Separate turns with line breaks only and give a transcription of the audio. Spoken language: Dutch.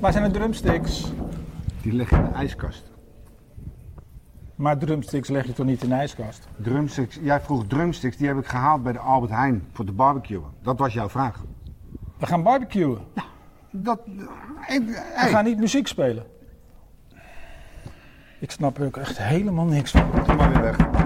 Waar zijn de drumsticks?
Die leg je in de ijskast.
Maar drumsticks leg je toch niet in de ijskast?
Drumsticks, jij vroeg drumsticks, die heb ik gehaald bij de Albert Heijn voor de barbecue. Dat was jouw vraag.
We gaan barbecuen.
Dat, eh, ik,
We
hey,
gaan niet muziek spelen. Ik snap er ook echt helemaal niks van.
doe maar weer weg.